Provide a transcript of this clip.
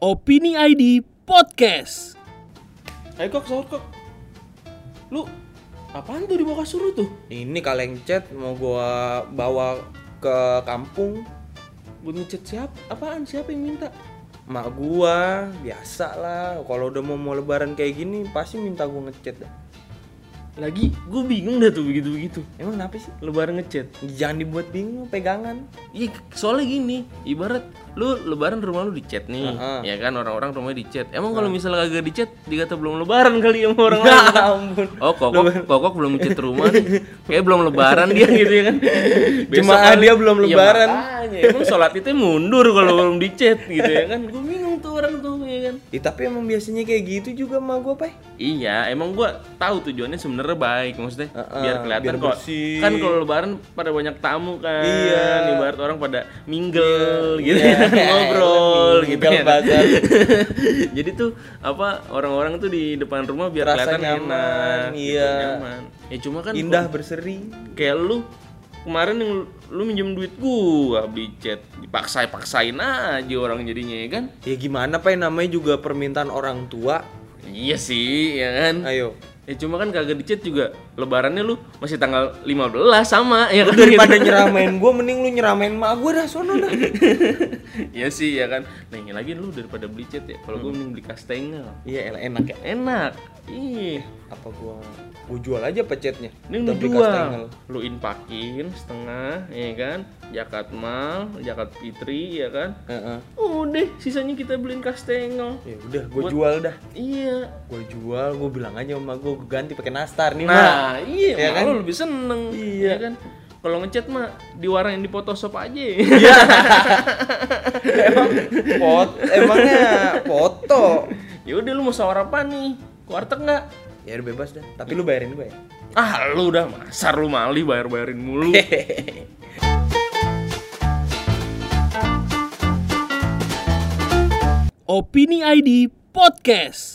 Opini ID Podcast. Ayo kok sahur kok. Lu apaan tuh di bawah kasur lu tuh? Ini kaleng cat mau gua bawa ke kampung Buat ngecat siap? Apaan? Siapa yang minta? Mak gua biasa lah kalau udah mau mau lebaran kayak gini pasti minta gua ngecat dah. Lagi gue bingung dah tuh begitu-begitu. Emang kenapa sih? Lebaran ngecat. Jangan dibuat bingung pegangan. Iya, soalnya gini, ibarat lu lebaran rumah lu dicat nih, Heeh. ya kan orang-orang rumahnya dicat. Emang kalau misalnya kagak dicat, dikata belum lebaran kali ya sama orang lain. Ya ampun. Oh, kokok, kokok belum ngecat rumah nih. Kayak belum lebaran dia gitu ya kan. Jemaah dia belum Iya, lebaran. makanya. Emang sholat itu mundur kalau belum dicat gitu ya kan. Gue bingung tuh orang tuh ya kan. Ih, tapi emang biasanya kayak gitu juga mak gua, Pak. Iya, emang gua tahu tujuannya sebenarnya baik maksudnya Heeh, biar kelihatan biar kok. bersih. Kan kalau lebaran pada banyak tamu kan. Iya. Ibarat orang pada mingle gitu ya, ngobrol gitu ya. Pasar. Jadi tuh apa orang-orang tuh di depan rumah biar Rasa kelihatan nyaman, enak, gitu, iya. nyaman. Ya cuma kan Indah berseri. kayak lu kemarin yang lu, lu minjem duit gua beli cat dipaksa-paksain aja orang jadinya ya kan. Ya gimana, Pak? Namanya juga permintaan orang tua. Iya sih, ya kan. Ayo. Ya cuma kan kagak dicet juga lebarannya lu masih tanggal 15 sama ya kan Daripada gitu. nyeramain gua mending lu nyeramain mak gua dah sono dah. Iya sih ya kan. Nah, ini lagi lu daripada beli cet ya. Kalau Hmm. gua mending beli kastengel. Iya, elah, enak ya. Enak. Ih, Apa gua gua jual aja pecetnya. ini lu jual. Lu inpakin setengah ya kan. Jakat mal, jakat fitri ya kan. Heeh. Udah, sisanya kita beliin kastengel. Ya udah, gua jual dah. Iya. Gua jual, gua bilang aja sama gua, gua ganti pakai nastar nih, Mak. Nah, iya, Ya malah kan? lu lebih seneng. Iya. ya kan. Kalau ngechat mah di warung yang di Photoshop aja. Iya, Emang pot, emangnya foto. ya udah lu mau sahur apa nih? Ke warteg nggak? Ya udah bebas dah, tapi lu bayarin gue ya. Ah lu udah masar lu mali bayar-bayarin mulu. Opini ID Podcast.